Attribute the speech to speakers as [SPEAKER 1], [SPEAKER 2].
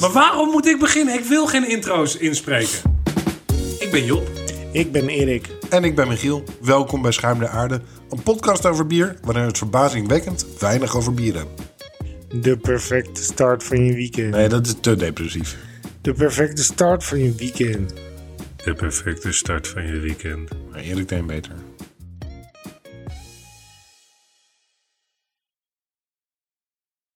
[SPEAKER 1] Maar waarom moet ik beginnen? Ik wil geen intro's inspreken. Ik ben Job.
[SPEAKER 2] Ik ben Erik.
[SPEAKER 3] En ik ben Michiel. Welkom bij Schuim de Aarde. Een podcast over bier waarin het verbazingwekkend weinig over bier hebben.
[SPEAKER 2] De perfecte start van je weekend.
[SPEAKER 3] Nee, dat is te depressief.
[SPEAKER 2] De perfecte start van je weekend.
[SPEAKER 1] De perfecte start van je weekend.
[SPEAKER 3] Maar Erik deed hem beter.